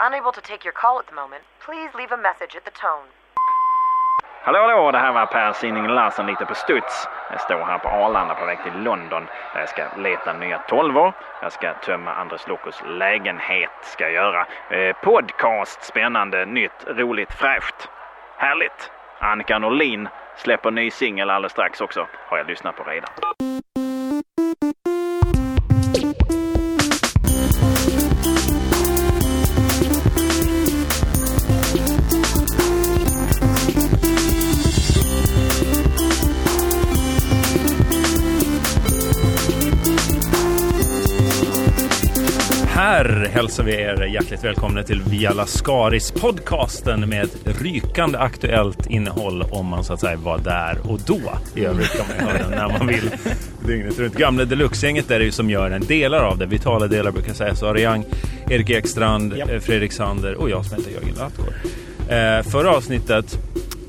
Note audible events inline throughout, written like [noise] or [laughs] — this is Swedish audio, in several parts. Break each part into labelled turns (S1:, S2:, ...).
S1: unable to take your call at the moment, please leave a message at the tone.
S2: Hallå, hallå! Det här var Per Sinding Larsen lite på studs. Jag står här på Arlanda på väg till London där jag ska leta nya tolvor. Jag ska tömma Andres Lokos lägenhet, ska jag göra. Eh, podcast, spännande, nytt, roligt, fräscht. Härligt! Annika Norlin släpper ny singel alldeles strax också, har jag lyssnat på redan.
S3: Här hälsar vi er hjärtligt välkomna till Via Lascaris podcasten med ett rykande aktuellt innehåll om man så att säga var där och då. I övrigt kan man ju höra den när man vill dygnet runt. Gamla Deluxe-gänget där är ju som gör en delar av det. Vitala delar brukar sägas. Sara Young, Erik Ekstrand, eh, Fredrik Sander och jag som heter Jörgen Lattgård. Eh, förra avsnittet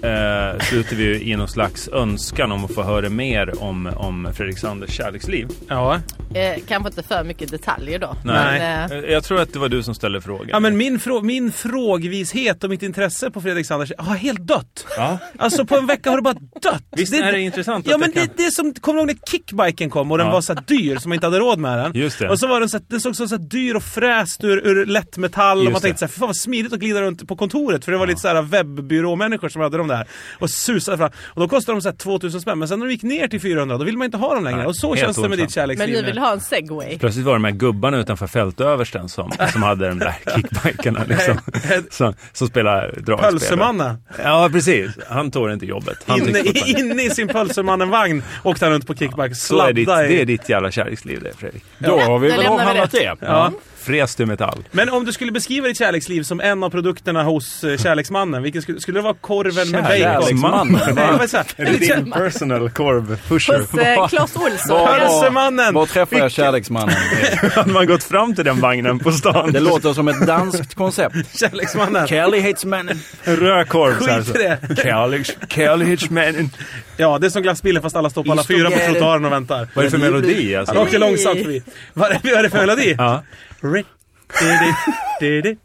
S3: eh, slutade vi ju i någon slags önskan om att få höra mer om, om Fredrik Sanders kärleksliv.
S4: Ja.
S5: Eh, kanske inte för mycket detaljer då.
S3: Nej.
S5: Men, eh,
S3: Eh, Jag tror att det var du som ställde frågan.
S4: ja, men min, frå min frågvishet och mitt intresse på Fredrik Sanders har helt dött.
S3: Ja.
S4: Alltså på en vecka har det bara dött.
S3: Visst är det intressant att
S4: Ja
S3: det
S4: men det,
S3: kan-
S4: det är som, kommer du ihåg när kickbiken kom och den
S3: Ja.
S4: var så här dyr som man inte hade råd med den?
S3: Just det.
S4: Och så var den så här, den såg så här dyr och fräst ur, ur lättmetall
S3: Just
S4: och man
S3: det.
S4: tänkte så här, för fan vad smidigt att glida runt på kontoret för det var lite så här webbyråmänniskor som hade dem där och susade fram. Och då kostade de så här 2000 spänn men sen när de gick ner till 400 då vill man inte ha dem längre.
S3: Nej,
S4: och så
S3: helt
S4: känns det med
S3: ointressant.
S4: ditt kärleksliv
S5: men ni
S4: nu.
S5: vill ha en segway?
S3: Plötsligt var det de här gubbarna utanför fältöversten som, som hade de där kickbikerna liksom. [laughs] Som, som spelar dragspel.
S4: Pölsemanna!
S3: Ja, precis. Han tog inte jobbet. Han
S4: Inne,
S3: tyckte
S4: i-
S3: fortfarande-
S4: inne i sin Pölsemannen-vagn åkte han runt på kickback.
S3: så är ditt,
S4: sladda i-
S3: det är ditt jävla kärleksliv det, Fredrik.
S6: Då har vi
S5: Då
S6: väl
S5: lämnar vi
S6: avhandlat det.
S3: Ja. Fräs du
S5: [laughs]
S3: metall.
S4: Men om du skulle beskriva ditt kärleksliv som en av produkterna hos eh, kärleksmannen, vilken skulle, skulle det vara korven med bacon? [laughs]
S3: Kärleksmannen.
S4: Nej, vad sa jag? Lite kär-
S3: personal korvpusher.
S5: Hos eh, Claes Olsson.
S6: Vad-
S4: Pölsemannen!
S6: Var träffar jag kärleksmannen?
S3: Hade man gått fram till den vagnen på stan?
S6: Det låter som ett danskt koncept.
S4: Kärleksmannen!
S6: Kelly hates mannen.
S3: Rödkorv. så här,
S4: Skit
S3: så.
S4: i det!
S3: Kärleks- Kärleksmannen.
S4: Ja, det är som glassbilen fast alla står på alla
S6: Istog
S4: fyra på
S6: är det-
S4: trottoaren och väntar.
S3: Vad är det för melodi
S4: Han
S3: alltså?
S4: åker långsamt förbi. Vad är det- vad är det för melodi?
S3: Ja.
S4: Ri- di- di- di- di-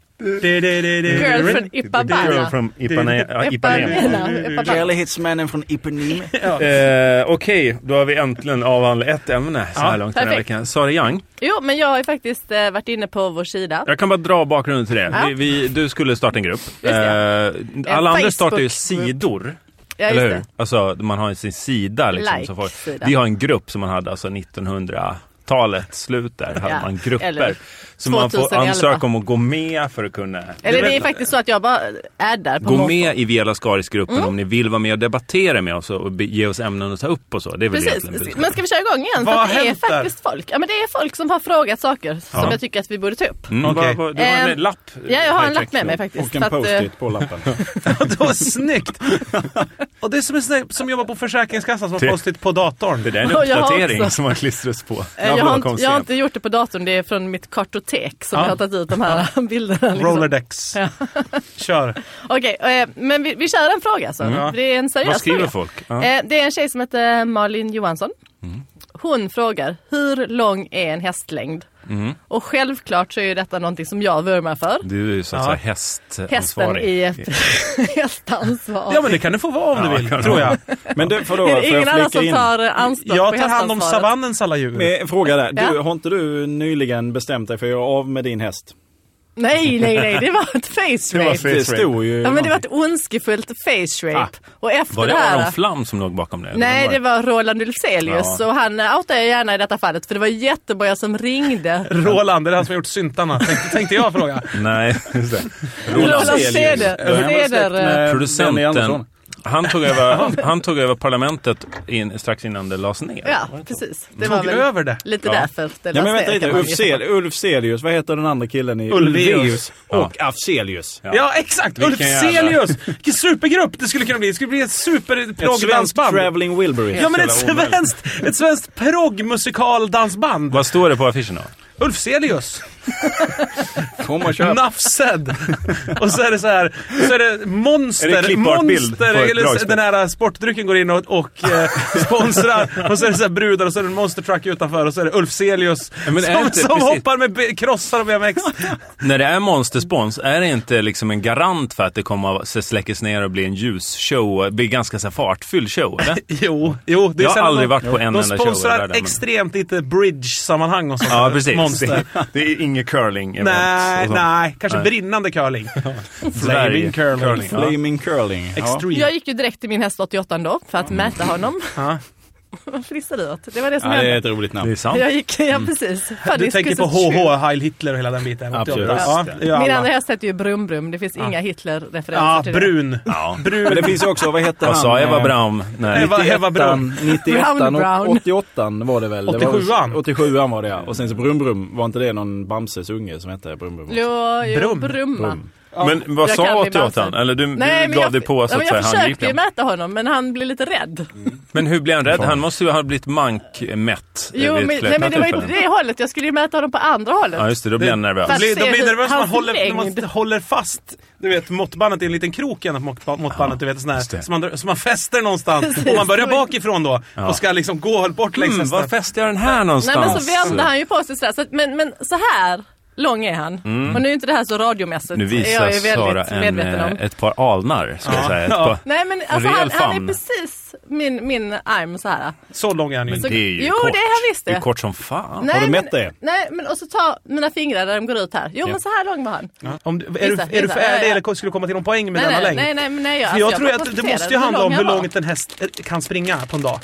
S4: di- di- di- di-
S5: Girl från Ipanema.
S3: from Ipane- ja, Ipanema.
S5: Ipanema.
S6: Kelly hates mannen från Ipanema.
S3: Eh, Okej, då har vi äntligen avhandlat ett ämne så här
S4: Ja,
S3: långt den här
S5: perfekt.
S3: veckan. Sara Young,
S5: Jo, men jag har ju faktiskt eh, varit inne på vår sida.
S3: jag kan bara dra bakgrunden till det.
S5: Ja.
S3: Vi, vi, du skulle starta en grupp. Eh,
S5: det.
S3: alla andra
S5: Facebook-grupp.
S3: startar ju sidor.
S5: Ja, just
S3: eller hur?
S5: det.
S3: Alltså, man har ju sin sida. Liksom, så folk,
S5: Like-sida.
S3: vi har en grupp som man hade alltså 1900 talets slut där hade
S5: Ja,
S3: man grupper.
S5: eller
S3: Så man får
S5: 2011.
S3: ansöka om att gå med för att kunna
S5: Eller det är faktiskt så att jag bara är där på
S3: Gå
S5: måfå. Mm.
S3: med i Via Lascaris-gruppen om ni vill vara med och debattera med oss och be- ge oss ämnen att ta upp och så. Det är väl
S5: Precis,
S3: egentligen budskapet.
S5: men ska vi köra igång
S4: Vad
S5: igen? För
S4: har
S5: att det är
S4: hänt där?
S5: faktiskt folk. Ja, men det är folk som har frågat saker som
S3: Ja.
S5: jag tycker att vi borde ta upp.
S3: Mm,
S4: Okej.
S3: vad- vad- du har en
S5: Ehm,
S3: lapp? eh,
S5: Ja, jag har en
S3: här i
S5: lapp
S3: texten.
S5: med mig faktiskt.
S6: Och en
S5: så att, eh,
S6: post-it på lappen.
S4: Vadå snyggt? Och det är som en sån där- som jobbar på Försäkringskassan som har
S3: Det-
S4: postit på datorn.
S3: Det där är en
S5: [laughs] Och jag har
S3: uppdatering
S5: också.
S3: som har klistrats på.
S5: eh, jag, har inte, jag har inte gjort det på datorn, det är från mitt kartotek som
S4: Ja.
S5: jag har tagit ut de här [laughs] bilderna. liksom.
S4: Rollerdex. Kör.
S5: Okej, eh, men vi, vi kör en fråga alltså.
S4: Mm.
S5: För Det är en seriös
S3: Vad skriver
S5: fråga.
S3: folk? Ja.
S5: Eh, det är en tjej som heter Malin Johansson. Hon frågar, hur lång är en hästlängd? Och självklart så är ju detta någonting som jag vurmar för.
S3: Du är ju så att
S4: Ja.
S3: säga
S5: Hästen
S3: hästansvarig.
S5: är [laughs] hästansvar.
S4: Ja men det kan du få vara om du vill,
S3: kan
S4: tror
S3: du.
S4: jag.
S6: Men du, får då,
S5: Är
S6: får
S5: det ingen
S6: jag
S5: annan
S6: flika
S5: som
S6: in?
S5: tar anspråk
S4: Jag
S5: på
S4: tar hand om
S5: hästansvaret?
S4: savannens alla djur.
S6: Eh, Fråga där. Du,
S5: Ja.
S6: Har inte du nyligen bestämt dig för att göra av med din häst?
S5: Nej, nej, nej, det var ett face rape.
S6: Det stod ju...
S5: Ja, men det var ett ondskefullt face rape. Och efter
S3: Var
S5: det,
S3: det Aron
S5: här...
S3: Flam som låg bakom det? Eller
S5: Nej,
S3: vem
S5: det var Roland Ulfzelius
S3: Ja.
S5: och han eh, outar jag gärna i detta fallet för det var jättemånga som ringde.
S4: Roland, det är han som har gjort syntarna, tänkte, tänkte jag fråga.
S3: Nej, just
S5: [laughs]
S3: det. Eh,
S5: Roland
S6: Celius.
S5: Ceder.
S6: Då är han väl släkt
S5: Ceder,
S6: med Benny
S3: Producenten.
S6: Andersson.
S3: Han tog, över, han tog över parlamentet in, strax innan det lades ner.
S5: Ja, precis. Det var
S4: Tog
S5: väl
S4: över det.
S5: lite
S3: Ja.
S5: därför det
S6: Ja,
S5: lades
S6: men vänta
S5: ner,
S6: lite.
S5: kan man
S6: Ulf,
S5: ju
S6: Cel- Ulf Celius, vad heter den andra killen i...
S4: Ulveus.
S6: Och Afzelius.
S4: Ja, exakt!
S3: Vilken
S4: Ulf Celius! Vilken supergrupp det skulle kunna bli! Det skulle bli ett
S6: Ett svenskt
S4: superprogg-dansband.
S6: traveling Wilbury.
S4: Ja men ett svenskt, ett svenskt progg-musikal-dansband.
S3: Vad står det på affischen då?
S4: Ulfzelius!
S2: Kom och köp.
S4: Enough said! och så är det så här, så är det monster,
S7: Är det klippartbild
S4: monster,
S7: på ett
S4: eller
S7: dragspel?
S4: den här sportdrycken går in och, och eh, sponsrar. och så är det så här brudar och så är det en monstertruck utanför och så är det Ulfzelius
S3: men är det
S4: som,
S3: inte
S4: som
S3: precis-
S4: hoppar med be- krossar och BMX.
S3: När det är monsterspons, är det inte liksom en garant för att det kommer att släckas ner och bli en ljusshow? Blir ganska så här fartfylld show, eller?
S4: jo, jo, det är
S3: Jag har
S4: sällan
S3: aldrig
S4: de,
S3: varit på en
S4: De
S3: enda show i
S4: sponsrar
S3: världen, men-
S4: extremt lite bridge-sammanhang och sånt
S3: Ja,
S4: där.
S3: precis.
S4: Monster.
S7: Det är inget curling event
S4: Nej,
S7: och sånt.
S4: nej. Kanske
S7: Nej.
S3: [laughs]
S4: brinnande curling.
S7: Sverige. curling. ja.
S6: Flaming curling. Ja.
S4: Extreme.
S5: Jag gick ju direkt till min häst 88 då för att mäta honom. [laughs]
S4: Ja.
S5: Vad frissar du åt? Det var det som
S6: Ja, det är
S5: hände.
S6: ett roligt
S3: Det är
S6: namn.
S3: sant.
S5: Jag gick, ja precis. Fan,
S4: Du
S5: det
S4: tänker på
S5: skulle så
S4: HH, Heil Hitler och hela den biten.
S6: Absolut.
S4: Ja, det gör
S5: Min
S4: alla.
S5: andra häst heter ju Brum Brum. Det finns inga Hitler-referenser
S4: Ja,
S5: till det.
S4: brun. brun.
S6: Men det finns ju också, vad hette han?
S3: Vad sa Eva
S6: eh,
S3: Braum? Nej.
S4: Eva, Eva Braun.
S6: 91
S5: Brown, brown.
S6: och 88 var det väl?
S4: 87:an.
S6: 87 var det ja. Och sen så Brum Brum, var inte det någon Bamses unge som hette Brum Brum? också?
S5: Jo, jo,
S4: Brum.
S5: Brumma.
S6: Brum.
S3: Men vad
S5: Jag
S3: sa
S5: kan bli
S3: 88
S5: Bamse.
S3: Eller du,
S5: Nej,
S3: du
S5: men
S3: gav
S5: jag,
S3: dig på så att
S5: ja, men
S3: säga
S5: jag försökte ju
S3: handgripligen.
S5: mäta honom, men han blev lite rädd.
S3: Men hur blev han rädd? Han måste ju ha blivit mankmätt eh,
S5: Jo,
S3: vid
S5: men,
S3: ett
S5: nej,
S3: flertal
S5: men det var ju inte
S3: tillfällen.
S5: det hållet. Jag skulle ju mäta honom på andra hållet.
S3: Ja, just det. Då blev han nervös.
S4: De blir, de
S5: se
S4: blir
S5: hur-
S4: nervösa när man
S5: hans
S4: håller, när man
S5: längd.
S4: håller fast du vet, måttbandet i en liten krok genom mått- måttbandet. Du vet, sån här,
S3: det.
S4: som, man, drar- som man fäster någonstans.
S5: Precis.
S4: Och man
S5: [laughs]
S4: börjar bakifrån då och ska liksom gå bort längs
S3: Mm, var
S4: hästen.
S3: fäste jag den här
S5: Nej,
S3: någonstans?
S5: men så vände han ju på sig sådär. Så att, men, men så här lång är han. Och nu är inte det här så radiomässigt.
S3: Mm. Nu
S5: Det är jag
S3: visar
S5: är väldigt
S3: Sara en,
S5: medveten om.
S3: eh, ett par alnar, ska jag säga. Ett
S4: Ja.
S3: par...
S5: Nej men alltså,
S3: Rejäl
S5: han, han
S3: famn.
S5: är precis min, min arm så här.
S4: Så lång är han ju.
S5: Så-
S3: Det är ju
S5: jo
S3: kort.
S5: det är han visst
S3: Det är kort som fan.
S5: Nej,
S6: du
S5: men-
S6: mätt det?
S5: Nej men och så ta mina fingrar där de går ut här. Jo men så här lång var han.
S4: Ja. Om, du- är, du,
S5: Visa,
S4: är du
S5: visa.
S4: färdig
S5: Ja, ja.
S4: eller skulle du komma till någon poäng med
S5: Nej,
S4: denna
S5: nej,
S4: längd?
S5: nej nej men nej. Jag,
S4: För
S5: alltså,
S4: jag tror ju att det
S5: konstaterade
S4: måste ju handla om hur
S5: han var.
S4: långt en häst eh, kan springa på en dag.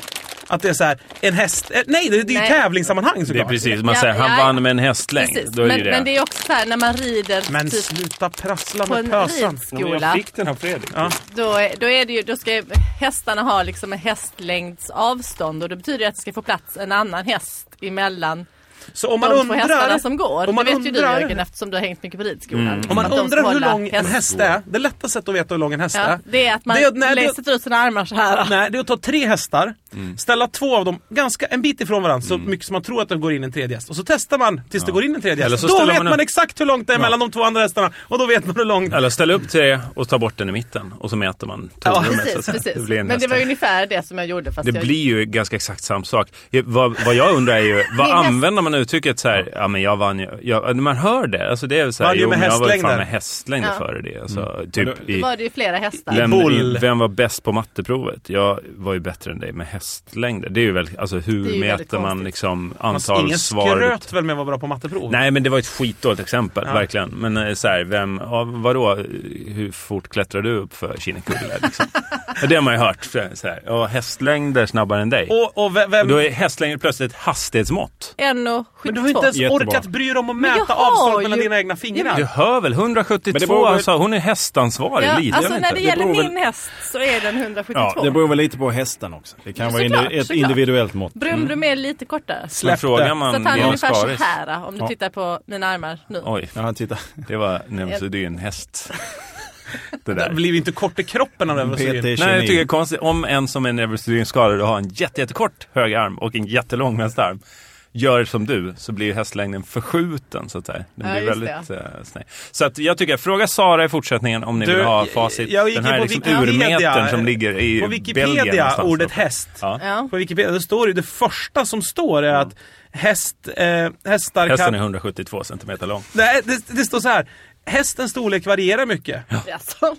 S4: Att det är så här, en häst... eh, Nej, det, det är ju
S5: Nej.
S4: tävlingssammanhang
S3: Det är
S4: såklart.
S3: precis, man
S5: Ja,
S3: säger han
S5: ja,
S3: vann
S5: ja.
S3: med en hästlängd.
S5: Precis.
S3: Då är
S5: men,
S3: det.
S5: men det är också så här när man rider
S4: Men
S5: typ
S4: sluta prassla
S5: på
S4: med
S5: en
S4: pösan.
S5: ridskola.
S7: den här Fredrik.
S5: Då, är- då, är det ju, då ska hästarna ha liksom en hästlängds avstånd och det betyder ju att det ska få plats en annan häst emellan
S4: Så om man
S5: de två
S4: undrar...
S5: hästarna som går.
S4: Om man
S5: det vet ju du
S4: undrar- Mm.
S5: Jörgen eftersom du har hängt mycket på ridskolan.
S4: Om man
S5: Att de ska
S4: undrar hur
S5: hålla
S4: lång en häst är, det lättaste sättet att veta hur lång en häst
S5: Ja,
S4: är.
S5: det är att man
S4: Det är- nej, det-
S5: sätter ut sina armar så här.
S4: Nej, det är att ta tre hästar,
S3: Mm.
S4: ställa två av dem ganska en bit ifrån varandra, så mycket som man tror att det går in en tredje häst. Och så testar man tills det går in en tredje
S3: Eller
S4: häst.
S3: så
S4: Då
S3: ställer
S4: vet
S3: man
S4: man
S3: en-
S4: exakt hur långt det är mellan de två andra hästarna. Och då vet man hur långt...
S3: Eller ställ upp tre och ta bort den i mitten och så mäter man
S5: Ja,
S3: tomrummet. så att
S5: [laughs] precis,
S3: säga.
S5: precis.
S3: Det blir en
S5: Men det
S3: hästlängd.
S5: var ungefär det som jag gjorde. Fast
S3: Det
S5: jag...
S3: blir ju ganska exakt samma sak. Eh, Vad, vad jag undrar är ju, vad
S5: [laughs] Min häst-
S3: använder man uttrycket så här, ja men jag vann ju, jag, man hör det. Alltså det är väl så här,
S4: Vann ju
S3: jo
S4: med
S3: men jag var ju fan
S4: hästlängder.
S3: med hästlängder
S5: Ja.
S3: före det. Alltså, typ i,
S5: var det ju flera hästar.
S3: lämna in,
S4: Boll.
S3: vem var bäst på matteprovet? Jag var ju bättre än dig med hästlängder. Det är ju väl, alltså
S5: Det är
S3: hur
S5: ju väldigt
S3: mäter man
S5: konstigt.
S3: liksom
S4: Alltså,
S3: antal
S4: ingen
S3: svar?
S4: skröt väl med att vara bra på matteprov?
S3: Nej men det var ett skitdåligt exempel,
S4: Ja.
S3: verkligen. Men eh, så här, vem, ja, vadå, eh, hur fort klättrar du upp för Kinnekulle?
S5: [laughs]
S3: Liksom? Ja, det har man ju hört. Så här, ja, hästlängder snabbare än dig.
S4: Och, och ve-
S3: Och
S4: vem...
S3: Då är hästlängden plötsligt ett hastighetsmått.
S5: 1,72.
S4: Men du har inte ens
S6: Jättebra.
S4: orkat bry dig om att
S5: jag
S4: mäta
S5: har
S4: avstånd
S5: ju-
S4: mellan dina egna fingrar.
S3: Du hör väl, 172,
S6: Men det beror väl-
S3: alltså, hon är hästansvarig,
S5: Ja,
S3: lite.
S5: alltså
S3: jag vet
S5: när
S3: inte.
S5: det gäller
S6: beror väl-
S5: min häst så är den 172.
S3: Ja,
S6: Det beror väl lite på hästen också. Det kan vara
S5: Såklart,
S6: indi- ett
S5: såklart.
S6: individuellt mått.
S5: Brum Brum är lite kortare. Så
S3: Men
S4: Släpp
S3: frågar
S4: det.
S3: man
S5: att han är
S3: Jan
S5: ungefär så
S3: Skaris...
S5: här om du
S6: Ja.
S5: tittar på mina armar nu.
S3: Oj,
S6: Ja, titta.
S3: det
S4: [laughs]
S3: var nämligen det är ju en häst. Det
S4: Det
S3: där.
S4: blir ju inte kort i kroppen av den
S6: PT
S4: här
S3: Nej, jag tycker det är
S6: 29.
S3: konstigt. Om en som är neurosedynskadad och har en jätte, jättekort höger arm och en jättelång vänsterarm gör som du så blir ju hästlängden förskjuten så att säga. Den
S5: Ja,
S3: blir
S5: just det,
S3: väldigt eh, sned. Så att jag tycker, fråga Sara i fortsättningen om ni
S4: Du,
S3: vill ha facit.
S4: jag gick
S3: Den
S4: in
S3: här
S4: på
S3: liksom
S4: Wikipedia.
S3: urmetern som ligger i
S4: På
S3: Belgien
S4: Wikipedia,
S3: någonstans
S4: ordet
S3: där uppe.
S4: häst.
S3: Ja.
S5: Ja.
S4: På Wikipedia det står ju, det första som står är att häst, eh, hästar
S3: Hästen
S4: kan...
S3: är 172 centimeter lång.
S4: Nej, det, det står så här. Hästens storlek varierar mycket.
S5: Alltså.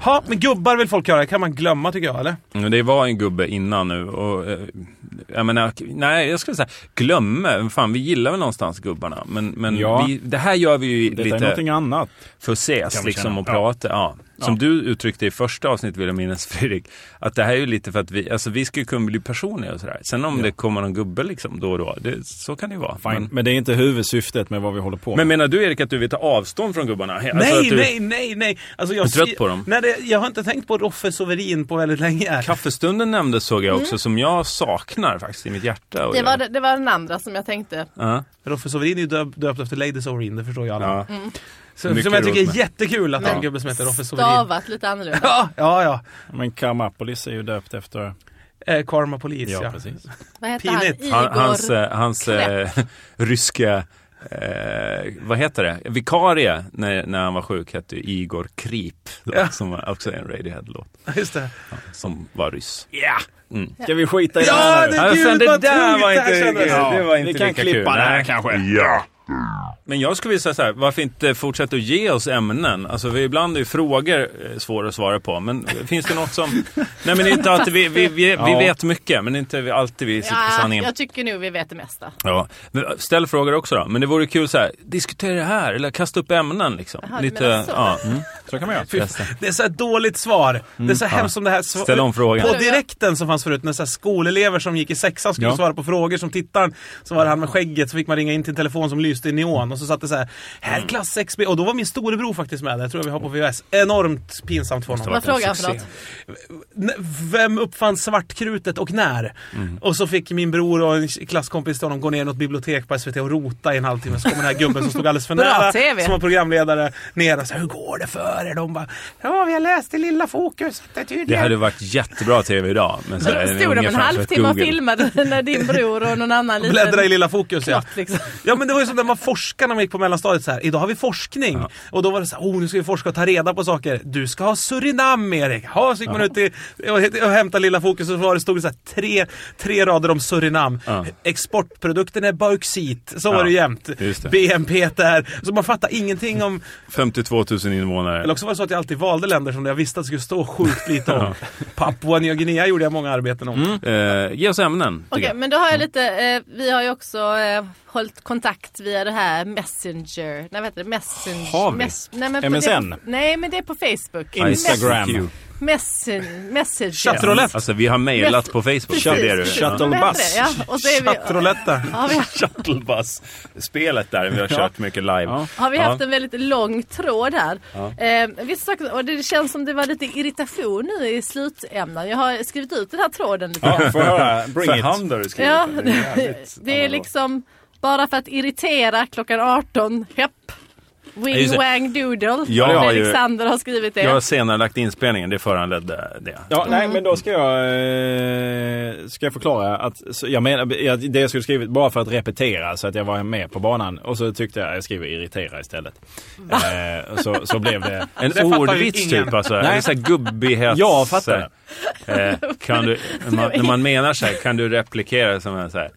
S4: Ha, men gubbar vill folk höra, kan man glömma tycker jag eller?
S3: Mm, Det var en gubbe innan nu och eh, jag menar, nej jag skulle säga glömme, fan vi gillar väl någonstans gubbarna men, men
S6: Ja.
S3: vi, det här gör vi ju
S6: Detta är
S3: lite
S6: någonting annat.
S3: för att ses
S7: vi
S3: liksom
S7: känna.
S3: och prata. Ja. Som du uttryckte i första avsnittet vill jag minnas [laughs] Fredrik, att det här är ju lite för att vi, alltså vi ska ju kunna bli personliga och sådär. Sen om det kommer någon gubbe liksom då och då, det, så kan det ju vara.
S6: Fine.
S3: Men,
S6: Men det är inte huvudsyftet med vad vi håller på med.
S3: men menar du Erik att du vill ta avstånd från gubbarna? Alltså att
S4: nej,
S3: du,
S4: nej, nej, nej! Alltså, jag,
S3: Är du trött på dem?
S4: Nej, det, jag har inte tänkt på Roffe Soverin på väldigt länge.
S3: Kaffestunden nämndes såg jag också, som jag saknar faktiskt i mitt hjärta. Och
S5: Mm. Det, var, det var den andra som jag tänkte.
S3: Ja.
S4: Roffe Soverin är ju döpt, döpt efter Lady Soverin, det förstår ju alla.
S3: Ja.
S4: Så,
S3: mycket
S4: som jag tycker
S3: roligt
S4: är
S3: med.
S4: jättekul att det är en
S3: Ja.
S4: gubbe som heter Roffe Soverin. [laughs]
S5: Stavat lite annorlunda.
S4: Ja, ja, ja.
S6: Men Karmapolis är ju döpt efter
S4: Eh, Karma Police, ja.
S6: Ja, precis.
S5: Vad heter
S4: Pinigt.
S5: han?
S3: Han,
S5: Igor?
S3: hans eh, hans eh, [laughs]
S5: Kräpp.
S3: ryska, eh, vad heter det, vikarie när, när han var sjuk hette ju Igor Krip. Då,
S4: Ja.
S3: Som var också en Radiohead-låt.
S4: [laughs] Just det.
S3: Som var ryss.
S6: Ja!
S3: Mm.
S6: Ska vi skita i det
S4: Ja,
S6: här nu?
S4: det
S3: Ja,
S4: är
S3: fan,
S4: gud
S3: det
S4: vad
S3: där
S4: tungt
S3: var
S4: det
S3: inte-
S4: här kändes.
S3: Ja. det var inte
S6: Vi kan
S3: lika
S6: klippa
S3: kul.
S6: det här
S3: Nej.
S6: kanske.
S3: Men jag skulle vilja säga så här, varför inte fortsätta att ge oss ämnen? Alltså vi, ibland är ju frågor eh, svåra att svara på, men finns det något
S4: [laughs]
S3: som... Nej men inte alltid, vi, vi, vi, vi
S6: Ja.
S3: vet mycket, men inte vi- alltid vi sitter på
S5: Ja,
S3: sanningen.
S5: jag tycker nog vi vet det mesta.
S3: Ja, men äh, ställ frågor också då. Men det vore kul så här, diskutera det här eller kasta upp ämnen liksom.
S5: Jaha, du menar så.
S3: ja. Mm.
S6: [laughs] Så kan man göra.
S3: Testa.
S4: Det är så här dåligt svar. Det är så
S3: ja.
S4: hemskt som det här svar-
S3: Mm. Ställ om frågan.
S4: På direkten som fanns förut när så här skolelever som gick i sexan skulle
S3: Ja.
S4: svara på frågor som tittaren, så var det han med skägget så fick man ringa in till en telefon som lyste i neon och så satt det så här, här klass 6B och då var min storebror faktiskt med där, tror jag vi har på VHS. Enormt pinsamt för honom.
S5: Vad frågar han för något?
S4: N- Vem uppfann svartkrutet och när? Och så fick min bror och en klasskompis till honom gå ner i något bibliotek på SVT och rota i en halvtimme. Så kom den här gubben som stod alldeles för
S5: Bra
S4: nära,
S5: TV.
S4: som var programledare, ner och sa “Hur går det för er?” De bara “Ja, vi har läst i Lilla Fokus, det är
S3: Det
S4: tydligen...”
S3: hade varit jättebå tv idag. Men så
S5: [laughs]
S3: här, en
S5: Stod de
S3: unge
S5: en
S3: framför ett
S5: halvtimme och
S3: Google.
S5: filmade [laughs] när din bror och någon annan liten...
S4: Bläddra i Lilla Fokus ja.
S5: knott, liksom.
S4: [laughs] Ja men det var ju som när man forskade när man gick på mellanstadiet så här. Idag har vi forskning. Och då var det så här, oh nu ska vi forska och ta reda på saker. Du ska ha Surinam Erik. Ha, så gick man ut i, och, och hämtade Lilla Fokus och så var det, stod det så här, tre, tre rader om Surinam.
S3: Ja.
S4: Exportprodukten är bauxit. Så var
S3: Ja,
S4: det jämt.
S3: just det.
S4: BNP där. Så man fattar ingenting om...
S3: 52 000 invånare.
S4: Eller också var det så att jag alltid valde länder som jag visste att det skulle stå sjukt
S3: [laughs]
S4: lite om. Papua Nya Guinea gjorde jag många arbeten om.
S3: Eh, ge oss ämnen. tycker
S5: Okej,
S3: jag.
S5: men då har jag lite, eh, vi har ju också eh, hållit kontakt via det här Messenger, nej vad heter det? Messenger?
S6: Har vi?
S5: nej, men på-
S6: MSN?
S5: Det, nej men det är på Facebook.
S6: Instagram.
S3: ICQ.
S5: Messen, messenger.
S4: Chattroulette.
S3: Alltså vi har mejlat på Facebook.
S5: Precis,
S3: det är det du.
S5: precis.
S3: Ja.
S6: Shuttle
S5: Vad heter
S6: bus.
S5: det? Ja, och så är vi,
S4: Chattroulette.
S5: har vi,
S3: Shuttlebuss-spelet där vi har kört mycket live.
S6: Ja.
S5: har vi haft en väldigt lång tråd här. Eh, vissa saker, och det känns som det var lite irritation nu i slutämnan. Jag har skrivit ut den här tråden lite.
S6: Ja, får jag höra. Bring
S3: För
S6: it.
S3: hand har du skrivit
S5: Ja,
S3: det. Det är
S5: det,
S3: jävligt
S5: [laughs] det är
S3: analogt.
S5: liksom bara för att irritera klockan 18. Hepp. Wing
S3: just det.
S5: Wang Doodle.
S3: Jag
S5: Och
S3: har ju-
S5: Alexander har skrivit det. [laughs]
S3: Jag har senare lagt inspelningen, det föranledde det.
S6: Ja, nej men då ska jag, eh, ska jag förklara att så jag menar, jag, det jag skulle skrivit bara för att repetera så att jag var med på banan och så tyckte jag jag skriver irritera istället. Eh, så, så blev det.
S3: [laughs] En
S4: fattar ju
S3: ordvits
S4: ingen.
S3: typ alltså. Nej. Så här gubbighets...
S6: [laughs] Jag fattar
S3: Eh, kan
S6: [laughs]
S3: du, när man, när man menar så här, kan du replikera som en så här,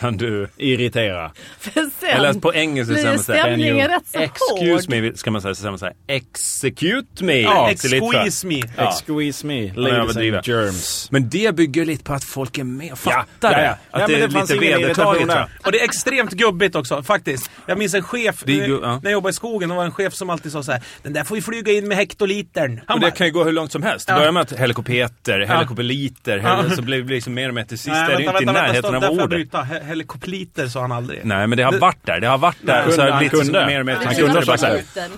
S3: kan du...
S6: Irritera.
S5: För sen
S3: Eller på engelska
S5: blir
S3: säger
S5: ju
S3: man så här,
S5: stämningen
S3: "Can you
S5: rätt så hård.
S3: excuse me, ska man säga, så säger man så här, execute me.
S4: Ja,
S3: Det är lite för-
S4: squeeze me.
S3: Ja.
S6: Squeeze me,
S3: jag
S6: ladies
S3: överdriver.
S6: and germs.
S3: Men det bygger lite på att folk är med och fattar
S6: ja, ja.
S3: det.
S6: Ja,
S3: Att
S6: men
S3: det är
S6: det fanns
S3: lite
S6: ingen
S3: vedertaget.
S6: irritation där.
S3: tror jag.
S4: Och det är extremt gubbigt också, faktiskt. Jag minns en chef,
S3: Det är gu-
S4: eh,
S3: ja.
S4: när jag jobbade i skogen, det var en chef som alltid sa så här: Den där får ju flyga in med hektolitern. Han
S3: Och
S4: bara,
S3: det kan ju gå hur långt som helst. Det
S4: Ja.
S3: börjar med att helikopeter, helikopeliter, hel-
S4: Ja.
S3: så blir det liksom mer och mer till sist.
S4: "Nej,
S3: är det ju inte i närheten
S4: stopp, där
S3: av
S4: får jag
S3: ordet.
S4: bryta. He- Helikopliter sa han aldrig.
S3: Nej, men det har varit där. Det har varit där.
S6: Nej,
S3: så har det
S6: han
S3: blivit
S6: kunde.
S3: mer och mer
S5: Det
S3: till
S5: blir
S3: sist. Det
S6: kunde ha
S3: är bara så här,
S5: liten.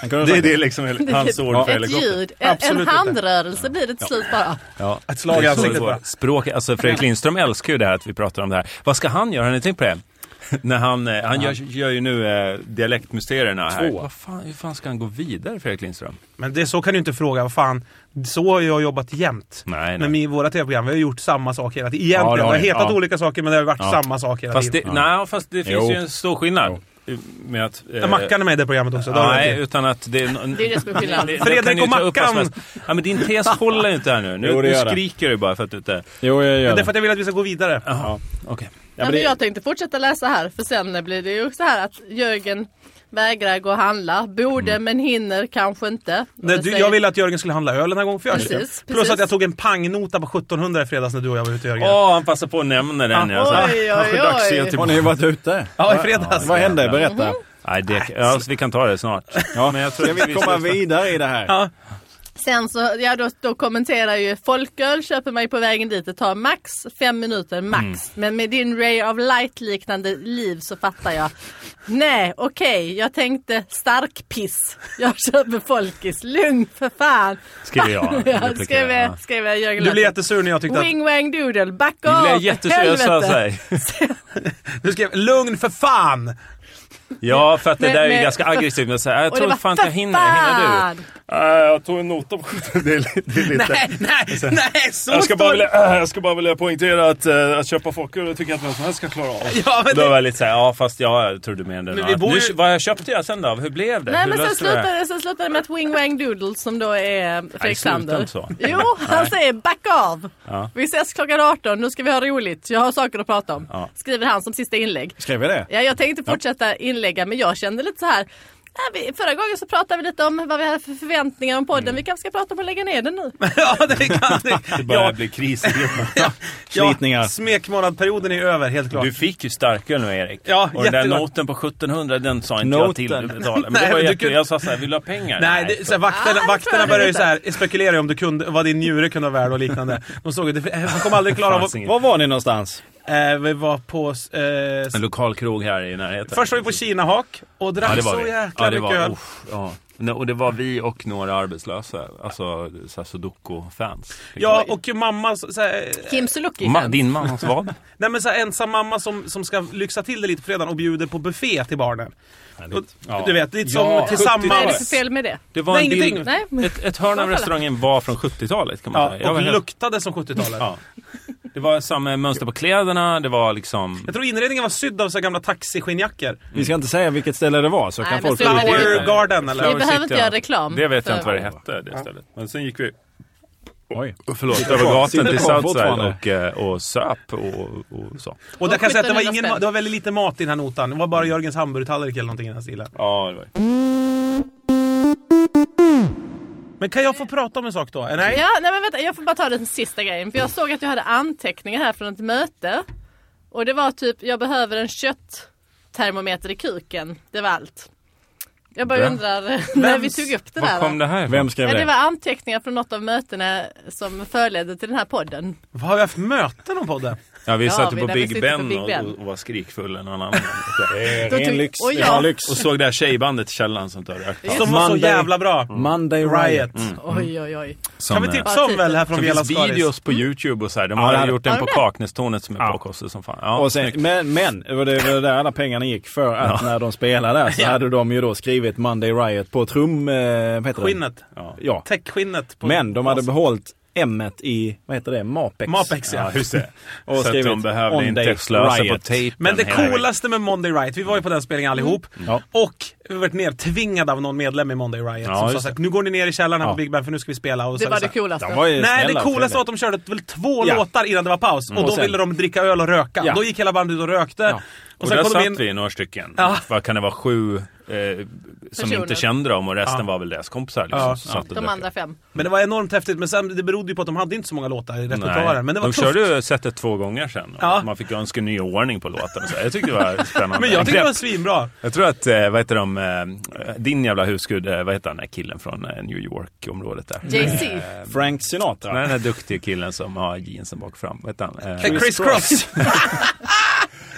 S6: Han kunde
S3: Det är
S6: sagt
S3: det liksom hel- hans ord för
S5: Ett
S3: helikopter.
S5: ljud, en,
S4: Absolut
S5: en
S4: inte.
S5: handrörelse blir det till slut bara.
S3: Ja.
S4: Ett slag i
S3: Det är så
S4: ansiktet
S3: det går.
S4: bara.
S3: Språk, alltså Fredrik Lindström älskar ju det här att vi pratar om det här. Vad ska han göra? Har ni tänkt på det? När han eh, han gör, gör ju nu eh, dialektmysterierna här.
S6: Två.
S3: Vad fan, hur fan ska han gå vidare, Fredrik Lindström?
S4: Men det, så kan du inte fråga, vad fan. Så har jag jobbat jämt.
S3: Nej,
S4: Men
S3: nej.
S4: i våra tv-program, vi har gjort samma sak hela tiden. Egentligen,
S6: Ja,
S4: det
S6: det
S4: har
S6: har ni.
S4: hetat
S6: Ja.
S4: olika saker men det har varit samma sak hela
S3: Fast det,
S4: tiden.
S3: nej, fast det finns
S6: Jo.
S3: ju en stor skillnad. eh, Med att, eh,
S4: Jag mackade med i det programmet också. det har jag
S3: Nej,
S4: till.
S3: utan att det... är-
S5: Det är det som är skillnaden.
S3: Det- det
S4: Fredrik
S3: kan ju
S4: och
S3: ta upp vad som
S4: Mackan.
S3: helst. Ja, men din [laughs] tes håller ju inte här nu. Nu,
S6: Jo, det
S3: nu
S6: gör det.
S3: skriker du bara för att du inte...
S6: Jo, jag
S4: Men
S6: gör
S4: det är för
S6: det.
S4: att jag vill att vi ska gå vidare.
S3: Jaha, okej.
S5: Ja, men jag tänkte fortsätta läsa här för sen blir det ju så här att Jörgen vägrar gå och handla. Borde men hinner kanske inte. Och
S4: Nej,
S5: det
S4: du,
S5: säger-
S4: jag ville att Jörgen skulle handla öl den här gången, för jag
S5: Precis,
S4: köpte. Plus
S5: precis.
S4: att jag tog en pangnota på 1700 i fredags när du och jag var ute Jörgen.
S3: Åh, han passar på att nämna den. alltså.
S4: Ah.
S3: ja, så här.
S5: Oj, oj,
S3: Kanske dags
S5: oj.
S3: igen till-
S6: Har ni varit ute?
S4: Ja, i fredags.
S6: Vad hände?
S5: Mm.
S6: Berätta.
S3: Nej, det, ja, så vi kan ta det snart.
S6: Ja.
S3: Men jag tror
S6: Ska
S3: att vi
S6: vi komma
S3: ska-
S6: vidare i det här?
S5: Sen så, ja då, då kommenterar ju folköl köper man ju på vägen dit. Det tar max fem minuter max. Men med din ray of light liknande liv så fattar jag. Nej, okej, jag tänkte stark piss. Jag [laughs] köper folkis. Lugn för fan.
S3: Skriver jag.
S5: [laughs] Ja,
S3: Replikerar,
S5: skriver,
S3: ja.
S5: skriver Jörgen
S4: Du blev
S5: Larsson.
S4: jättesur när jag tyckte att...
S5: Wing wang doodle, back
S3: Nu
S5: off!
S3: blir jag jättesur. Jag sa
S5: helvete.
S3: så här.
S4: Du skrev “Lugn för fan!”
S3: Ja, för att det
S5: Men-
S3: där är ju
S5: men-
S3: ganska aggressivt. Men så här, jag
S5: Och det
S3: tror
S5: var
S3: fan inte jag
S5: för
S3: hinner. Hinner
S5: fan.
S3: du? Äh, jag tog en nota på [laughs] det. Är, li- det är lite...
S4: Nej, nej, nej, så
S3: Jag ska,
S4: stor-
S3: bara vilja, [clears throat] äh, jag ska bara vilja poängtera att, äh, att köpa folköl det tycker jag att vem som helst ska klara av.
S4: [laughs] Ja, men
S3: Då
S4: det,
S3: var jag lite såhär, ja fast ja, jag trodde mer än det.
S4: Men vi
S3: Nu,
S4: bor ju-
S3: Vad köpte jag sen då? Hur blev det?
S5: Nej
S3: Hur
S5: men sen
S3: löste vi det här?
S5: slutade, sen slutade det med att Wing Wang Doodles som då är Fredrik
S3: sluta
S5: Sander.
S3: inte så.
S5: Jo, han säger back av.
S3: Ja.
S5: Vi ses klockan 18, nu ska vi ha roligt. Jag har saker att prata om.
S3: Ja.
S5: Skriver han som sista inlägg.
S6: Skrev jag det?
S5: Ja, jag tänkte fortsätta inlägga men jag kände lite så här. nej, vi- Förra gången så pratade vi lite om vad vi hade för förväntningar om
S3: Mm.
S5: podden. Vi kanske ska prata om att lägga ner den nu.
S4: [laughs] ja, det kan [laughs] det.
S3: Det börjar
S4: Ja,
S3: bli kris i
S4: [laughs]
S3: gruppen.
S6: Slitningar.
S4: ja, smekmånadperioden är över, helt klart.
S3: Du fick ju starköl nu Erik.
S4: Ja,
S3: och den där
S4: jättegott.
S3: noten på 1700 den sa inte jag
S4: [laughs]
S6: Noten.
S3: till dig betala. Men
S4: Nej,
S3: det var
S4: men du
S3: jätte...
S4: kunde-
S3: Jag sa såhär, vill du ha pengar?
S4: Nej, det, så här, vakterna,
S5: Ah,
S4: vakterna
S5: det
S4: började ju
S5: inte.
S4: så här, spekulera om du kunde, vad din njure kunde vara värd och liknande. De såg att det- han kommer aldrig klara av att...
S3: Fanns inget.
S6: Var var ni någonstans?
S4: Eh, vi var på... Eh,
S3: En lokal krog här i närheten.
S4: först var vi på Kinahak och drack
S3: Ja, det var
S4: så
S3: vi.
S4: jäkla
S3: ja, det
S4: mycket
S3: var,
S4: öl.
S3: uff, ja. Nej, Och det var vi och några arbetslösa, alltså så här Sudoku-fans.
S4: Ja, och ju mamma... Så så här,
S5: Kim Sulocki.
S3: [laughs] Ma- din mans vad?
S4: nej, men så här, ensam mamma som, som ska lyxa till det lite på fredagen och bjuder på buffé till barnen. Och,
S3: Ja.
S4: Du vet, lite som
S3: Ja,
S5: Vad är det
S4: tillsammans...
S5: för fel med det?
S3: Det var
S4: Nej,
S3: en bild-
S4: ingenting.
S5: Nej.
S3: Ett, ett hörn av restaurangen var från 70-talet kan man
S4: Ja,
S3: säga. Jag
S4: och
S3: var helt-
S4: luktade som 70-talet.
S3: Ja. Det var samma mönster på kläderna, det var liksom...
S4: Jag tror inredningen var sydd av så här gamla taxiskinnjackor.
S6: Vi ska inte säga vilket ställe det var så
S5: Nej,
S6: kan
S5: men
S6: folk...
S5: så-
S6: lura.
S4: Flower Garden eller?
S5: Vi behöver inte
S3: City, ja.
S5: göra reklam.
S3: Det vet jag
S5: för-
S3: inte vad det hette, det stället. Men sen gick vi
S6: Oj.
S3: Förlåt,
S6: kvar.
S3: över gatan
S6: Sitter
S3: till
S6: kvar
S3: Southside
S6: fortfarande.
S3: och, eh, och söp och, och så.
S4: Och där kan jag säga att det var,
S5: 1700
S4: ingen,
S5: spänn.
S4: ma- det var väldigt lite mat i den här notan. Det var bara Jörgens hamburgertallrik eller någonting i den här stilen.
S3: Ja, det var
S4: Men kan jag få prata om en sak då? Eh, Nej?
S5: Ja, nej men vänta, jag får bara ta den sista grejen. För jag såg att jag hade anteckningar här från ett möte. Och det var typ, jag behöver en kötttermometer i kuken. Det var allt. Jag bara
S3: Vem?
S5: undrar [laughs] när vi tog upp det
S3: Var
S5: där.
S3: kom
S5: va?
S3: det här
S6: Vem skrev
S5: Ja, det
S6: det?
S5: var anteckningar från något av mötena som förledde till den här podden.
S4: Vad Har vi haft möten om podden?
S3: Ja, vi
S5: Ja,
S3: satt
S5: vi-
S3: ju på
S5: när vi
S3: Big
S5: sitter på
S3: Ben
S5: Big
S3: och,
S5: Ben.
S3: och, var skrikfulla en annan.
S5: Då tog-
S6: lyx.
S5: och
S6: Det
S5: jag-
S6: var lyx.
S3: och såg det här tjejbandet i källaren som dör rökt.
S4: Som var så
S6: Monday- Mm.
S4: jävla bra.
S6: Monday Riot. Mm.
S4: Riot.
S5: Oj, oj, oj.
S3: Som,
S4: Kan vi
S3: eh,
S4: tipsa om väl här
S3: som
S4: från Vela
S3: finns
S4: Skaris?
S3: videos på Youtube och så Mm. här. De
S6: Ja, det
S3: har
S6: hade-
S3: gjort en
S5: Har
S3: på
S5: de det?
S3: Kaknästornet som är påkostad som fan. Ja,
S6: Och sen, men, men det var det var där alla pengarna gick för att när de spelade där så hade de ju då skrivit Monday Riot på trum... Eh, vad heter det?
S4: Skinnet.
S3: ja.
S6: Ja.
S4: Täckskinnet. på-
S6: Men de hade behållit M i, vad heter det, Mapex.
S4: Mapex ja.
S3: ja, just det.
S6: [laughs] Och
S3: så att
S6: skrivit
S3: de behövde
S6: On
S3: inte
S6: Day
S3: slösa på
S6: Riot.
S3: tejpen.
S4: Men det
S3: hela vägen.
S4: coolaste med Monday Riot, vi var ju på den spelningen
S5: Mm.
S4: allihop.
S6: Ja.
S4: Och vi varit nertvingade av någon medlem i Monday Riot
S3: Ja,
S4: som sa
S3: just
S4: såhär, nu går ni ner i källaren här på
S6: Ja.
S4: Big Ben för nu ska vi spela. Och så
S5: Det var det
S4: såhär-
S5: coolaste.
S6: De var ju
S4: Nej,
S6: snälla
S4: det
S6: och
S4: coolaste
S6: trevliga.
S4: var att de körde väl två
S6: Ja.
S4: låtar innan det var paus.
S3: Mm.
S4: Och då
S6: Och sen-
S4: ville de dricka öl och röka.
S6: Ja.
S4: Då gick hela bandet ut och rökte.
S3: Och, där
S4: kom de
S3: satt
S4: in-
S3: vi några stycken.
S4: Ja.
S3: Vad kan det vara? Sju eh, som
S5: Personer.
S3: inte kände dem och resten
S4: Ja.
S3: var väl deras kompisar. Liksom,
S4: Ja.
S3: som satt och
S5: De
S3: drack.
S5: andra fem.
S4: Men det var enormt häftigt. Men sen, det berodde ju på att de hade inte så många låtar i
S3: Nej.
S4: repertoaren. Men det var
S3: de
S4: tufft.
S3: körde ju sättet två gånger sen.
S4: Ja.
S3: Man fick önska ny ordning på låten. och Så. Jag tyckte det var
S4: [laughs]
S3: spännande.
S4: Men jag tyckte det var
S3: Grepp.
S4: svinbra.
S3: jag tror att, eh, vad heter de, eh, din jävla husgud, eh, vad heter han, den här killen från eh, New York-området där?
S5: JC.
S6: Frank Sinatra.
S3: Nej, den här duktiga killen som har jeansen bak och fram. Vad heter han? Eh,
S4: Chris, [laughs] Cross.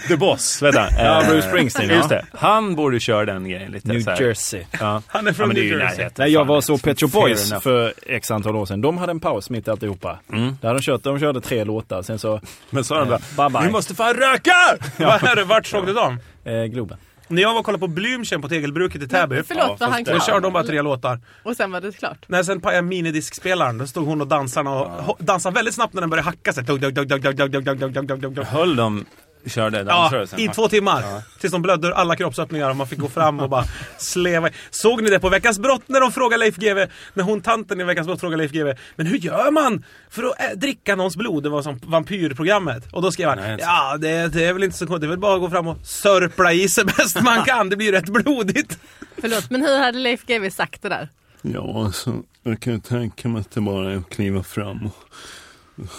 S3: The Boss, vet han.
S6: Ja,
S3: Eh,
S6: Bruce Springsteen,
S3: Just
S6: ja.
S3: det. Han borde köra den grejen lite. så
S6: New
S3: här.
S6: Jersey.
S3: Ja.
S4: Han är från
S3: ja, men det är
S4: New
S3: ju
S4: Jersey.
S3: närheten.
S6: Nej, jag
S3: Fan,
S6: var så
S3: liksom.
S6: Pet Shop
S3: Fair
S6: Boys
S3: enough.
S6: för x antal år sedan. De hade en paus mitt i alltihopa. Där de, kört, de körde tre låtar, sen så
S3: Mm. [laughs]
S6: Eh,
S3: Men så har de bara,
S6: Bye, bye.
S3: ni måste fan röka!
S4: [laughs] Vad är det? Vart såg du dem?
S6: eh, Globen.
S4: När jag var och kollade på Blümchen på tegelbruket i Täby.
S5: Förlåt,
S3: Ja,
S5: var
S3: fast
S5: han
S3: det-
S4: Då
S5: klar?
S4: körde de bara tre låtar.
S5: Och sen var det klart.
S4: När sen pajade minidiskspelaren, då stod hon och dansade och ho- dansade väldigt snabbt när den började hacka sig. Dug, dug, dug, dug, dug, dug, dug, dug, dug, dug, dug, dug.
S3: Höll de, körde
S4: Ja,
S3: dansrörelsen?
S4: i två timmar. Tills de blödde ur alla kroppsöppningar och man fick gå fram och bara sleva i. Såg ni det på Veckans Brott när de frågade Leif GW när hon tanten i Veckans Brott frågade Leif GW Men hur gör man för att äh, dricka någons blod? Det var som vampyrprogrammet. Och då skrev han
S3: Nej, inte så.
S4: Ja, det, det är väl inte så konstigt. Det är väl bara att gå fram och sörpla i sig bäst man kan. Det blir ju rätt blodigt.
S5: Förlåt, men hur hade Leif GW sagt det där?
S8: Ja, alltså, jag kan ju tänka mig att det bara är att kliva fram och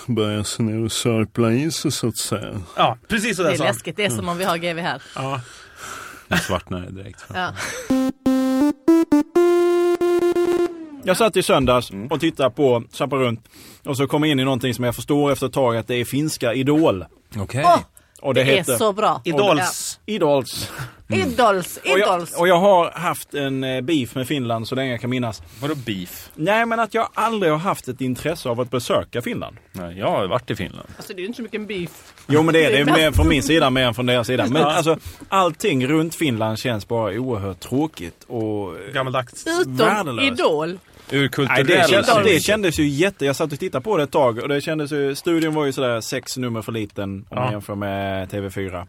S8: börja sig ner och sörpla i sig så att säga.
S4: Ja, precis så
S5: Det
S4: där
S5: är
S4: sa han.
S5: läskigt, det är som om vi har GW här.
S4: Ja.
S3: Nu svartnade det direkt.
S5: Ja.
S6: Jag satt i söndags
S3: Mm.
S6: och tittade på Zappa runt och så kom jag in i någonting som jag förstår efter ett tag att det är finska Idol.
S3: Okej.
S5: Åh,
S6: Och det,
S5: det är
S6: heter...
S5: så bra.
S4: Idols.
S6: Idols.
S5: Idols,
S6: Och jag,
S5: idols.
S6: och jag har haft en eh, beef med Finland så länge jag kan minnas.
S3: Vadå beef?
S6: Nej, men att jag aldrig har haft ett intresse av att besöka Finland.
S3: Nej, jag har varit i Finland.
S5: Alltså det är ju inte så mycket en beef.
S6: Jo, men det är det.
S5: Det är
S6: Mer
S5: mest-
S6: från min sida, mer än från deras sida. Men alltså, allting runt Finland känns bara oerhört tråkigt och...
S4: Gammaldags.
S5: [laughs] Utom
S6: Värdelöst.
S5: Idol.
S3: Ur
S6: Nej,
S3: kulturell
S6: det, kändes,
S4: liksom.
S3: synvinkel.
S6: det kändes ju jätte... Jag satt och tittade på det ett tag och det kändes ju... Studion var ju sådär sex nummer för liten om man jämför med TV4. Eh,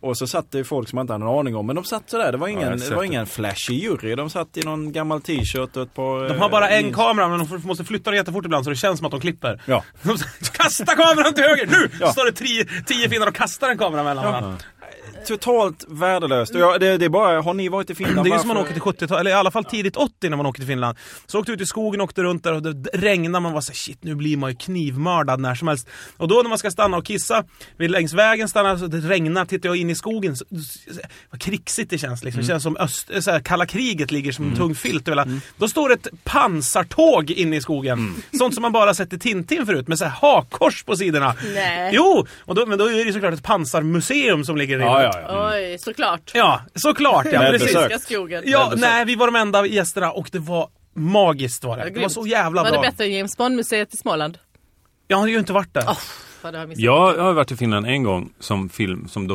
S6: och så satt det ju folk som man inte hade en aning om. Men de satt sådär. Det var
S3: jag
S6: ingen,
S3: har
S6: det
S3: sett
S6: var
S3: det.
S6: ingen flashig jury. De satt i någon gammal t-shirt och ett par... eh,
S4: De har bara en kamera men de får- måste flytta den jättefort ibland så det känns som att de klipper.
S6: Ja.
S4: [laughs] De säger, Kasta kameran till höger! Nu!
S6: Ja.
S4: Så står det tio, tio finnar och kastar en kamera mellan varandra.
S6: Totalt värdelöst. Och jag, det, det är bara... Har ni varit i Finland?
S4: Det är ju
S6: Varför-
S4: som man åker till 70-talet, eller i alla fall tidigt 80 när man åker till Finland. Så åkte vi ut i skogen och åkte runt där och det regnade. Man var såhär shit, nu blir man ju knivmördad när som helst. Och då när man ska stanna och kissa, vid längs vägen stannar så det regnar, tittar jag in i skogen. Så, så, vad krigsigt det känns
S6: Mm.
S4: liksom. Det känns som öst, så här, kalla kriget ligger som en tung filt över hela. Då står ett pansartåg inne i skogen.
S6: Mm.
S4: Sånt som man bara sett i Tintin förut med så här hakkors på sidorna.
S5: Nej.
S4: Jo! Och då, men då är det ju såklart ett pansarmuseum som ligger i
S6: Ja, ja, ja.
S5: Oj, eh, såklart.
S4: Ja, såklart ja.
S6: Med
S4: precis.
S6: besök.
S5: Finska skogen.
S4: Ja,
S6: Men du sa-
S4: nej, vi var de enda gästerna och det var magiskt var det.
S5: Ja,
S4: Det var
S5: grymt.
S4: så jävla
S5: Var det
S4: bra.
S5: bättre än James Bond-museet i Småland?
S4: Jag har ju inte varit där.
S5: Vad det har jag missat.
S3: Jag har varit i Finland en gång som, film, som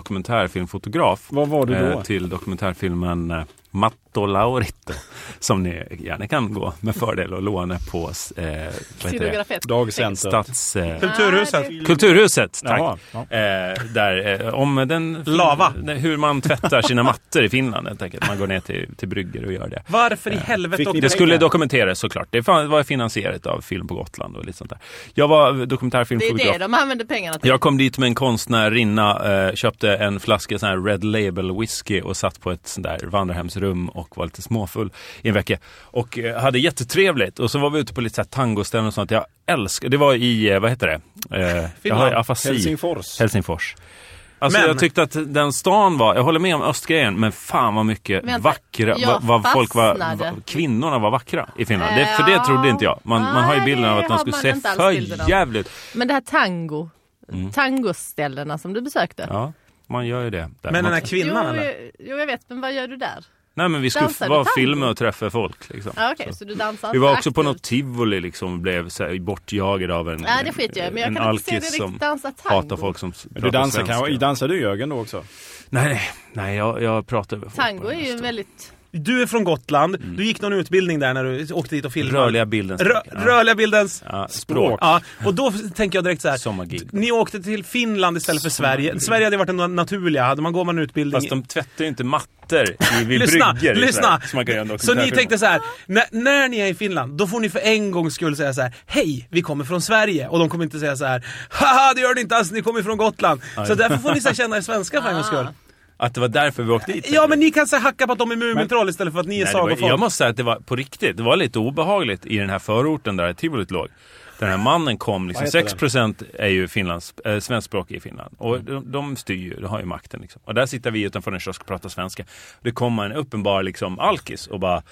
S3: dokumentärfilmfotograf.
S6: Vad var du då?
S3: Eh, till dokumentärfilmen eh, Matto Laurito. Som ni gärna kan gå med fördel och låna på eh, vad heter det?
S5: Sidografet.
S6: Dagcenter.
S3: Stats... Eh,
S4: Kulturhuset.
S5: Ah, det-
S3: Kulturhuset, tack.
S6: Jaha, ja.
S3: Eh, där, eh, om den...
S4: Lava.
S3: Nej, Hur man tvättar sina mattor i Finland helt enkelt. Man går ner till, till brygger och gör det.
S4: Varför i helvete
S6: Fick ni
S4: åkte
S3: Det
S4: vi?
S3: skulle dokumenteras såklart. Det fan- var finansierat av Film på Gotland och lite sånt där. Jag var
S5: Det är
S3: dokumentärfilmfotograf.
S5: det de använder pengarna till.
S3: Jag kom dit med en konstnärinna, eh, köpte en flaska sån här Red Label whisky och satt på ett sånt där vandrarhemsrum och var lite småfull i en vecka. Och eh, hade jättetrevligt. Och så var vi ute på lite så här tangoställen och sånt. Jag älskar, det var i, eh, vad heter det? Eh, jag har afasi.
S6: Helsingfors.
S3: Helsingfors. Alltså
S4: Men-
S3: jag tyckte att den stan var, jag håller med om östgrejen, men fan vad mycket
S5: Vänta,
S3: vackra,
S5: jag
S3: vad, vad folk var,
S5: fastnade.
S3: vad- kvinnorna var vackra i Finland. Det, för det trodde inte jag. Man, man har ju
S5: Nej,
S3: bilden av
S5: det
S3: att de
S5: har
S3: skulle
S5: man
S3: se
S5: inte alls bilden av.
S3: för jävligt ut.
S5: Men det här tango.
S6: Mm.
S5: Tangoställena som du besökte.
S3: Ja, man gör ju det. Där.
S4: Men den
S3: man,
S4: här kvinnan
S5: jo,
S4: eller?
S5: jo, jag vet. Men vad gör du där?
S3: nej men vi skulle
S5: dansar du
S3: vara
S5: tango?
S3: filmer och träffa folk. Liksom.
S5: Ja, Okej,
S3: Så.
S5: så. du dansar
S3: Vi var också på
S5: aktivt.
S3: något tivoli liksom och blev så här bortjagad av en,
S5: Nej, det skiter jag i, men jag
S3: en
S5: kan inte se dig
S3: alkis som
S5: riktigt dansa tango.
S3: hatar folk som
S6: Men du dansar kanske?
S3: svenska.
S6: Dansar du Jörgen då också?
S3: Nej, nej, nej jag, jag pratar över folk
S5: Tango
S3: bara.
S5: är ju en väldigt...
S4: Du är från Gotland. Du gick någon utbildning där när du åkte dit och filmade.
S3: Mm. Rörliga bildens
S4: Rö-
S3: språk, ja.
S4: rörliga bildens...
S3: Ja, språk.
S4: Ja, och då tänker jag direkt så här.
S3: Sommargig.
S4: Ni åkte till Finland istället för Sverige. Sverige hade varit den naturliga. Hade man går man en utbildning...
S3: Fast de tvättar ju inte mattor i- vid
S4: Lyssna,
S3: bryggor. i
S4: lyssna!
S3: Sverige, som man kan göra en
S4: Så ni
S3: dokumentärfilm.
S4: tänkte så här, när, när ni är i Finland, då får ni för en gångs skull säga så här: Hej, vi kommer från Sverige. Och de kommer inte säga så här, Haha, det gör ni inte alls, ni kommer från Gotland. Så därför får ni så här, känna er svenska för en gångs skull.
S3: Ah, Att det var därför vi åkte dit?
S4: Ja, men ni kan så här, hacka på att de är Mumintroll istället för att ni är
S3: Nej, det var,
S4: sagofolk.
S3: jag måste säga att det var på riktigt, det var lite obehagligt i den här förorten där tivolit låg. Den här mannen kom, liksom,
S6: Vad heter
S3: 6% är ju Finlands, äh, svenskspråkig i Finland. Och de, de styr ju, de har ju makten. Liksom. Och där sitter vi utanför en kiosk och pratar svenska. Det kommer en uppenbar liksom, alkis och bara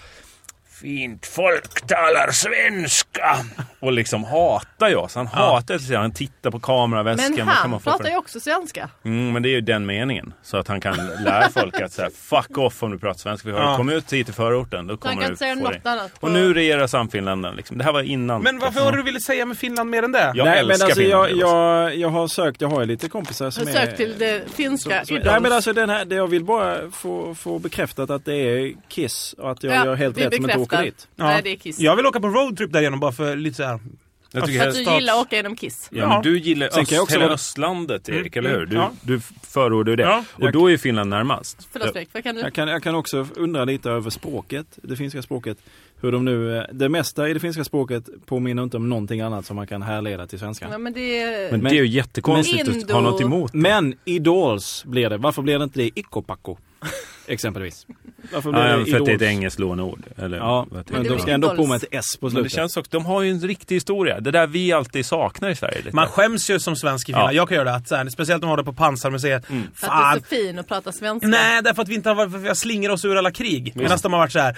S3: Fint folk talar svenska! Och liksom hatar ju oss. Han hatar oss. Han tittar på kameraväskan.
S5: Men
S3: vad kan
S5: han
S3: man få för-
S5: pratar ju också svenska.
S3: Mm, men det är ju den meningen. Så att han kan lära folk att så här, fuck off om du pratar svenska. Vi har
S4: Ja.
S3: Kom ut hit till förorten, då kommer
S5: kan
S3: du
S5: inte säga
S3: få
S5: något
S3: det.
S5: annat på-
S3: Och nu regerar samfinländarna. Liksom. Det här var innan.
S4: Men varför var det du ville säga med Finland mer än det?
S3: Jag
S6: Nej, men
S3: älskar
S6: alltså,
S3: Finland.
S6: jag, jag, jag har sökt, jag har ju lite kompisar som är...
S5: Försök till det finska
S6: som,
S5: Idols.
S6: Mm. nej men alltså den här, det jag vill bara få, få bekräftat att det är Kiss och att jag
S5: Ja,
S6: gör helt
S5: vi
S6: rätt som inte
S5: bekräftar.
S6: åker dit.
S4: Ja.
S5: Nej, det är Kiss.
S4: Jag vill åka på roadtrip därigenom bara för lite så här.
S3: Jag tycker
S5: För att
S3: helst
S5: du
S3: att-
S5: gillar att åka genom Kiss.
S3: Ja, men du gillar
S6: Sen kan jag
S3: öst,
S6: också
S3: hela
S6: vara-
S3: östlandet, Erik,
S4: Mm,
S3: eller
S4: mm,
S3: hur? Du,
S4: ja.
S3: du förordar ju det.
S4: Ja.
S3: och då är ju Finland närmast.
S5: Förlåt Fredrik, vad kan du?
S6: Jag kan, jag kan också undra lite över språket, det finska språket. Hur de nu, eh, det mesta i det finska språket påminner inte om någonting annat som man kan härleda till
S5: Ja,
S6: svenskan.
S5: men det är...
S3: Men,
S6: Men-
S3: det är ju jättekonstigt
S5: Men-
S3: att ha något emot.
S6: Men Idols blir det. Varför blir det inte det Ikkopakko? Exempelvis. Varför blir
S3: Ja,
S6: det
S3: för att det är ett
S6: Idols?
S3: engelskt låneord. Eller,
S6: Ja,
S3: vad heter det?
S6: men
S5: det
S6: de
S5: blir
S6: ska ändå
S5: Idols.
S6: på med ett S på
S3: men det
S6: slutet.
S3: känns också, de har ju en riktig historia. Det där vi alltid saknar i Sverige. Lite.
S4: Man skäms ju som svensk i Finland.
S3: Ja. Mm.
S4: Jag kan göra det. Att, så här, speciellt om man har det på pansarmuseet.
S5: För att du är
S4: Fan,
S5: så fin och pratar svenska.
S4: Nej, därför att vi inte har varit, för vi har slingrat oss ur alla krig. Medan de har varit så här.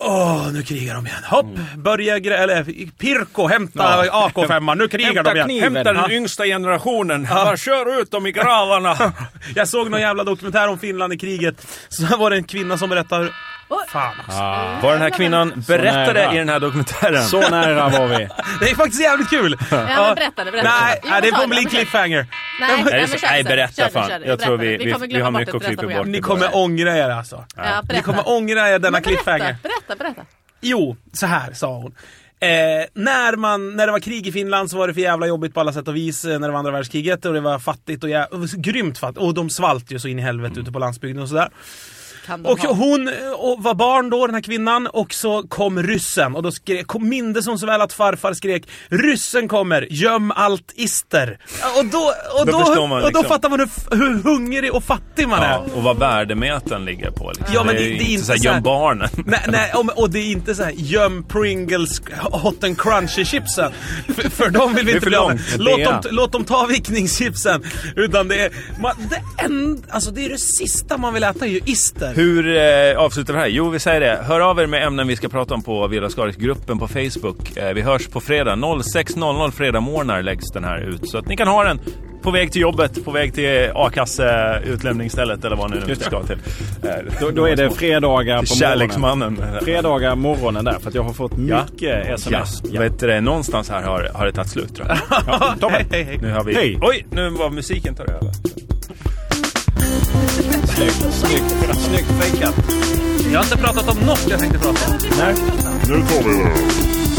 S4: Åh, nu krigar de igen. Hopp! Börje, Gre- eller Pirko, hämta AK5. Nu krigar
S3: Hämta
S4: de igen.
S3: kniven. Hämta den yngsta generationen. Bara kör ut dem i gravarna.
S4: [laughs] Jag såg någon jävla dokumentär om Finland i kriget. Så var det en kvinna som berättade... hur-
S5: Oj.
S4: Fan också.
S3: Vad den här kvinnan berättade
S6: nära.
S3: i den här dokumentären.
S6: Så nära
S3: [laughs]
S6: var vi.
S4: [laughs] Det är faktiskt jävligt kul!
S5: Ja, men berätta det. Berätta.
S4: Nej,
S5: Jo,
S4: nej, det
S5: men ta
S4: kommer bli en
S5: berätta.
S4: cliffhanger.
S5: Nej,
S3: Nej,
S5: men
S3: så-
S5: kör det
S3: nej,
S5: sen.
S3: berätta
S5: Kör det,
S3: fan.
S5: kör det.
S3: Jag tror
S5: Berätta.
S3: vi- vi-
S5: kommer
S3: vi
S5: glömma
S3: har
S5: bort
S3: mycket
S5: det.
S3: att
S5: Berätta
S3: klippa
S5: program.
S3: bort.
S4: Ni kommer ångra er alltså.
S5: Ja,
S4: Ni
S5: berätta.
S4: kommer ångra er denna
S5: Men berätta,
S4: cliffhanger.
S5: Berätta, berätta.
S4: Jo, så här sa hon. Eh, när, man, när det var krig i Finland så var det för jävla jobbigt på alla sätt och vis eh, när det var andra världskriget och det var fattigt och, jä- och grymt fattigt. Och de svalt ju så in i helvete ute på landsbygden och sådär.
S5: Kan de
S4: Och
S5: ha?
S4: hon eh, och var barn då, den här kvinnan, och så kom ryssen. Och då skrek, kom, mindes hon så väl att farfar skrek Ryssen kommer, göm allt ister. Och då, och
S3: Då
S4: då,
S3: förstår man
S4: och då
S3: liksom.
S4: fattar man hur, f- hur hungrig och fattig man
S3: Ja,
S4: är.
S3: och vad värdemätaren ligger på. Liksom.
S4: Ja, men
S3: det är
S4: det- det är
S3: inte
S4: inte
S3: så här,
S4: så här-
S3: göm barnen.
S4: [laughs] Nej, nej och, och det är inte så här göm Pringles hot and crunchy chipsen. För, för dem vill vi
S3: är
S4: inte
S3: för
S4: bli av med.
S3: långt.
S4: Låt
S6: Det
S4: dem,
S6: är-
S4: låt dem ta vickningschipsen. Utan det är, man, det, en, alltså det är det sista man vill äta är ju ister.
S3: [laughs] Hur eh, avslutar vi det här? Jo, vi säger det. Hör av er med ämnen vi ska prata om på Villa Skaris-gruppen på Facebook. Eh, vi hörs på fredag. 06.00 fredag morgnar läggs den här ut. Så att ni kan ha den på väg till jobbet, på väg till a-kasseutlämningsstället eller vad ni nu ska till. Eh,
S6: Då, då är det fredagar på morgonen.
S3: Kärleksmannen.
S6: Fredagar morgonen där för att jag har fått
S3: Ja.
S6: mycket sms.
S3: Ja. Vet du, det, någonstans här har, har det tagit slut tror jag. Ja,
S4: Hej, hej, hej.
S3: Nu har vi...
S6: Hej.
S3: Oj, nu var musiken tar över.
S6: Snyggt, snyggt fejkat.
S4: Jag har inte pratat om något jag tänkte prata om.
S8: Nu kommer det.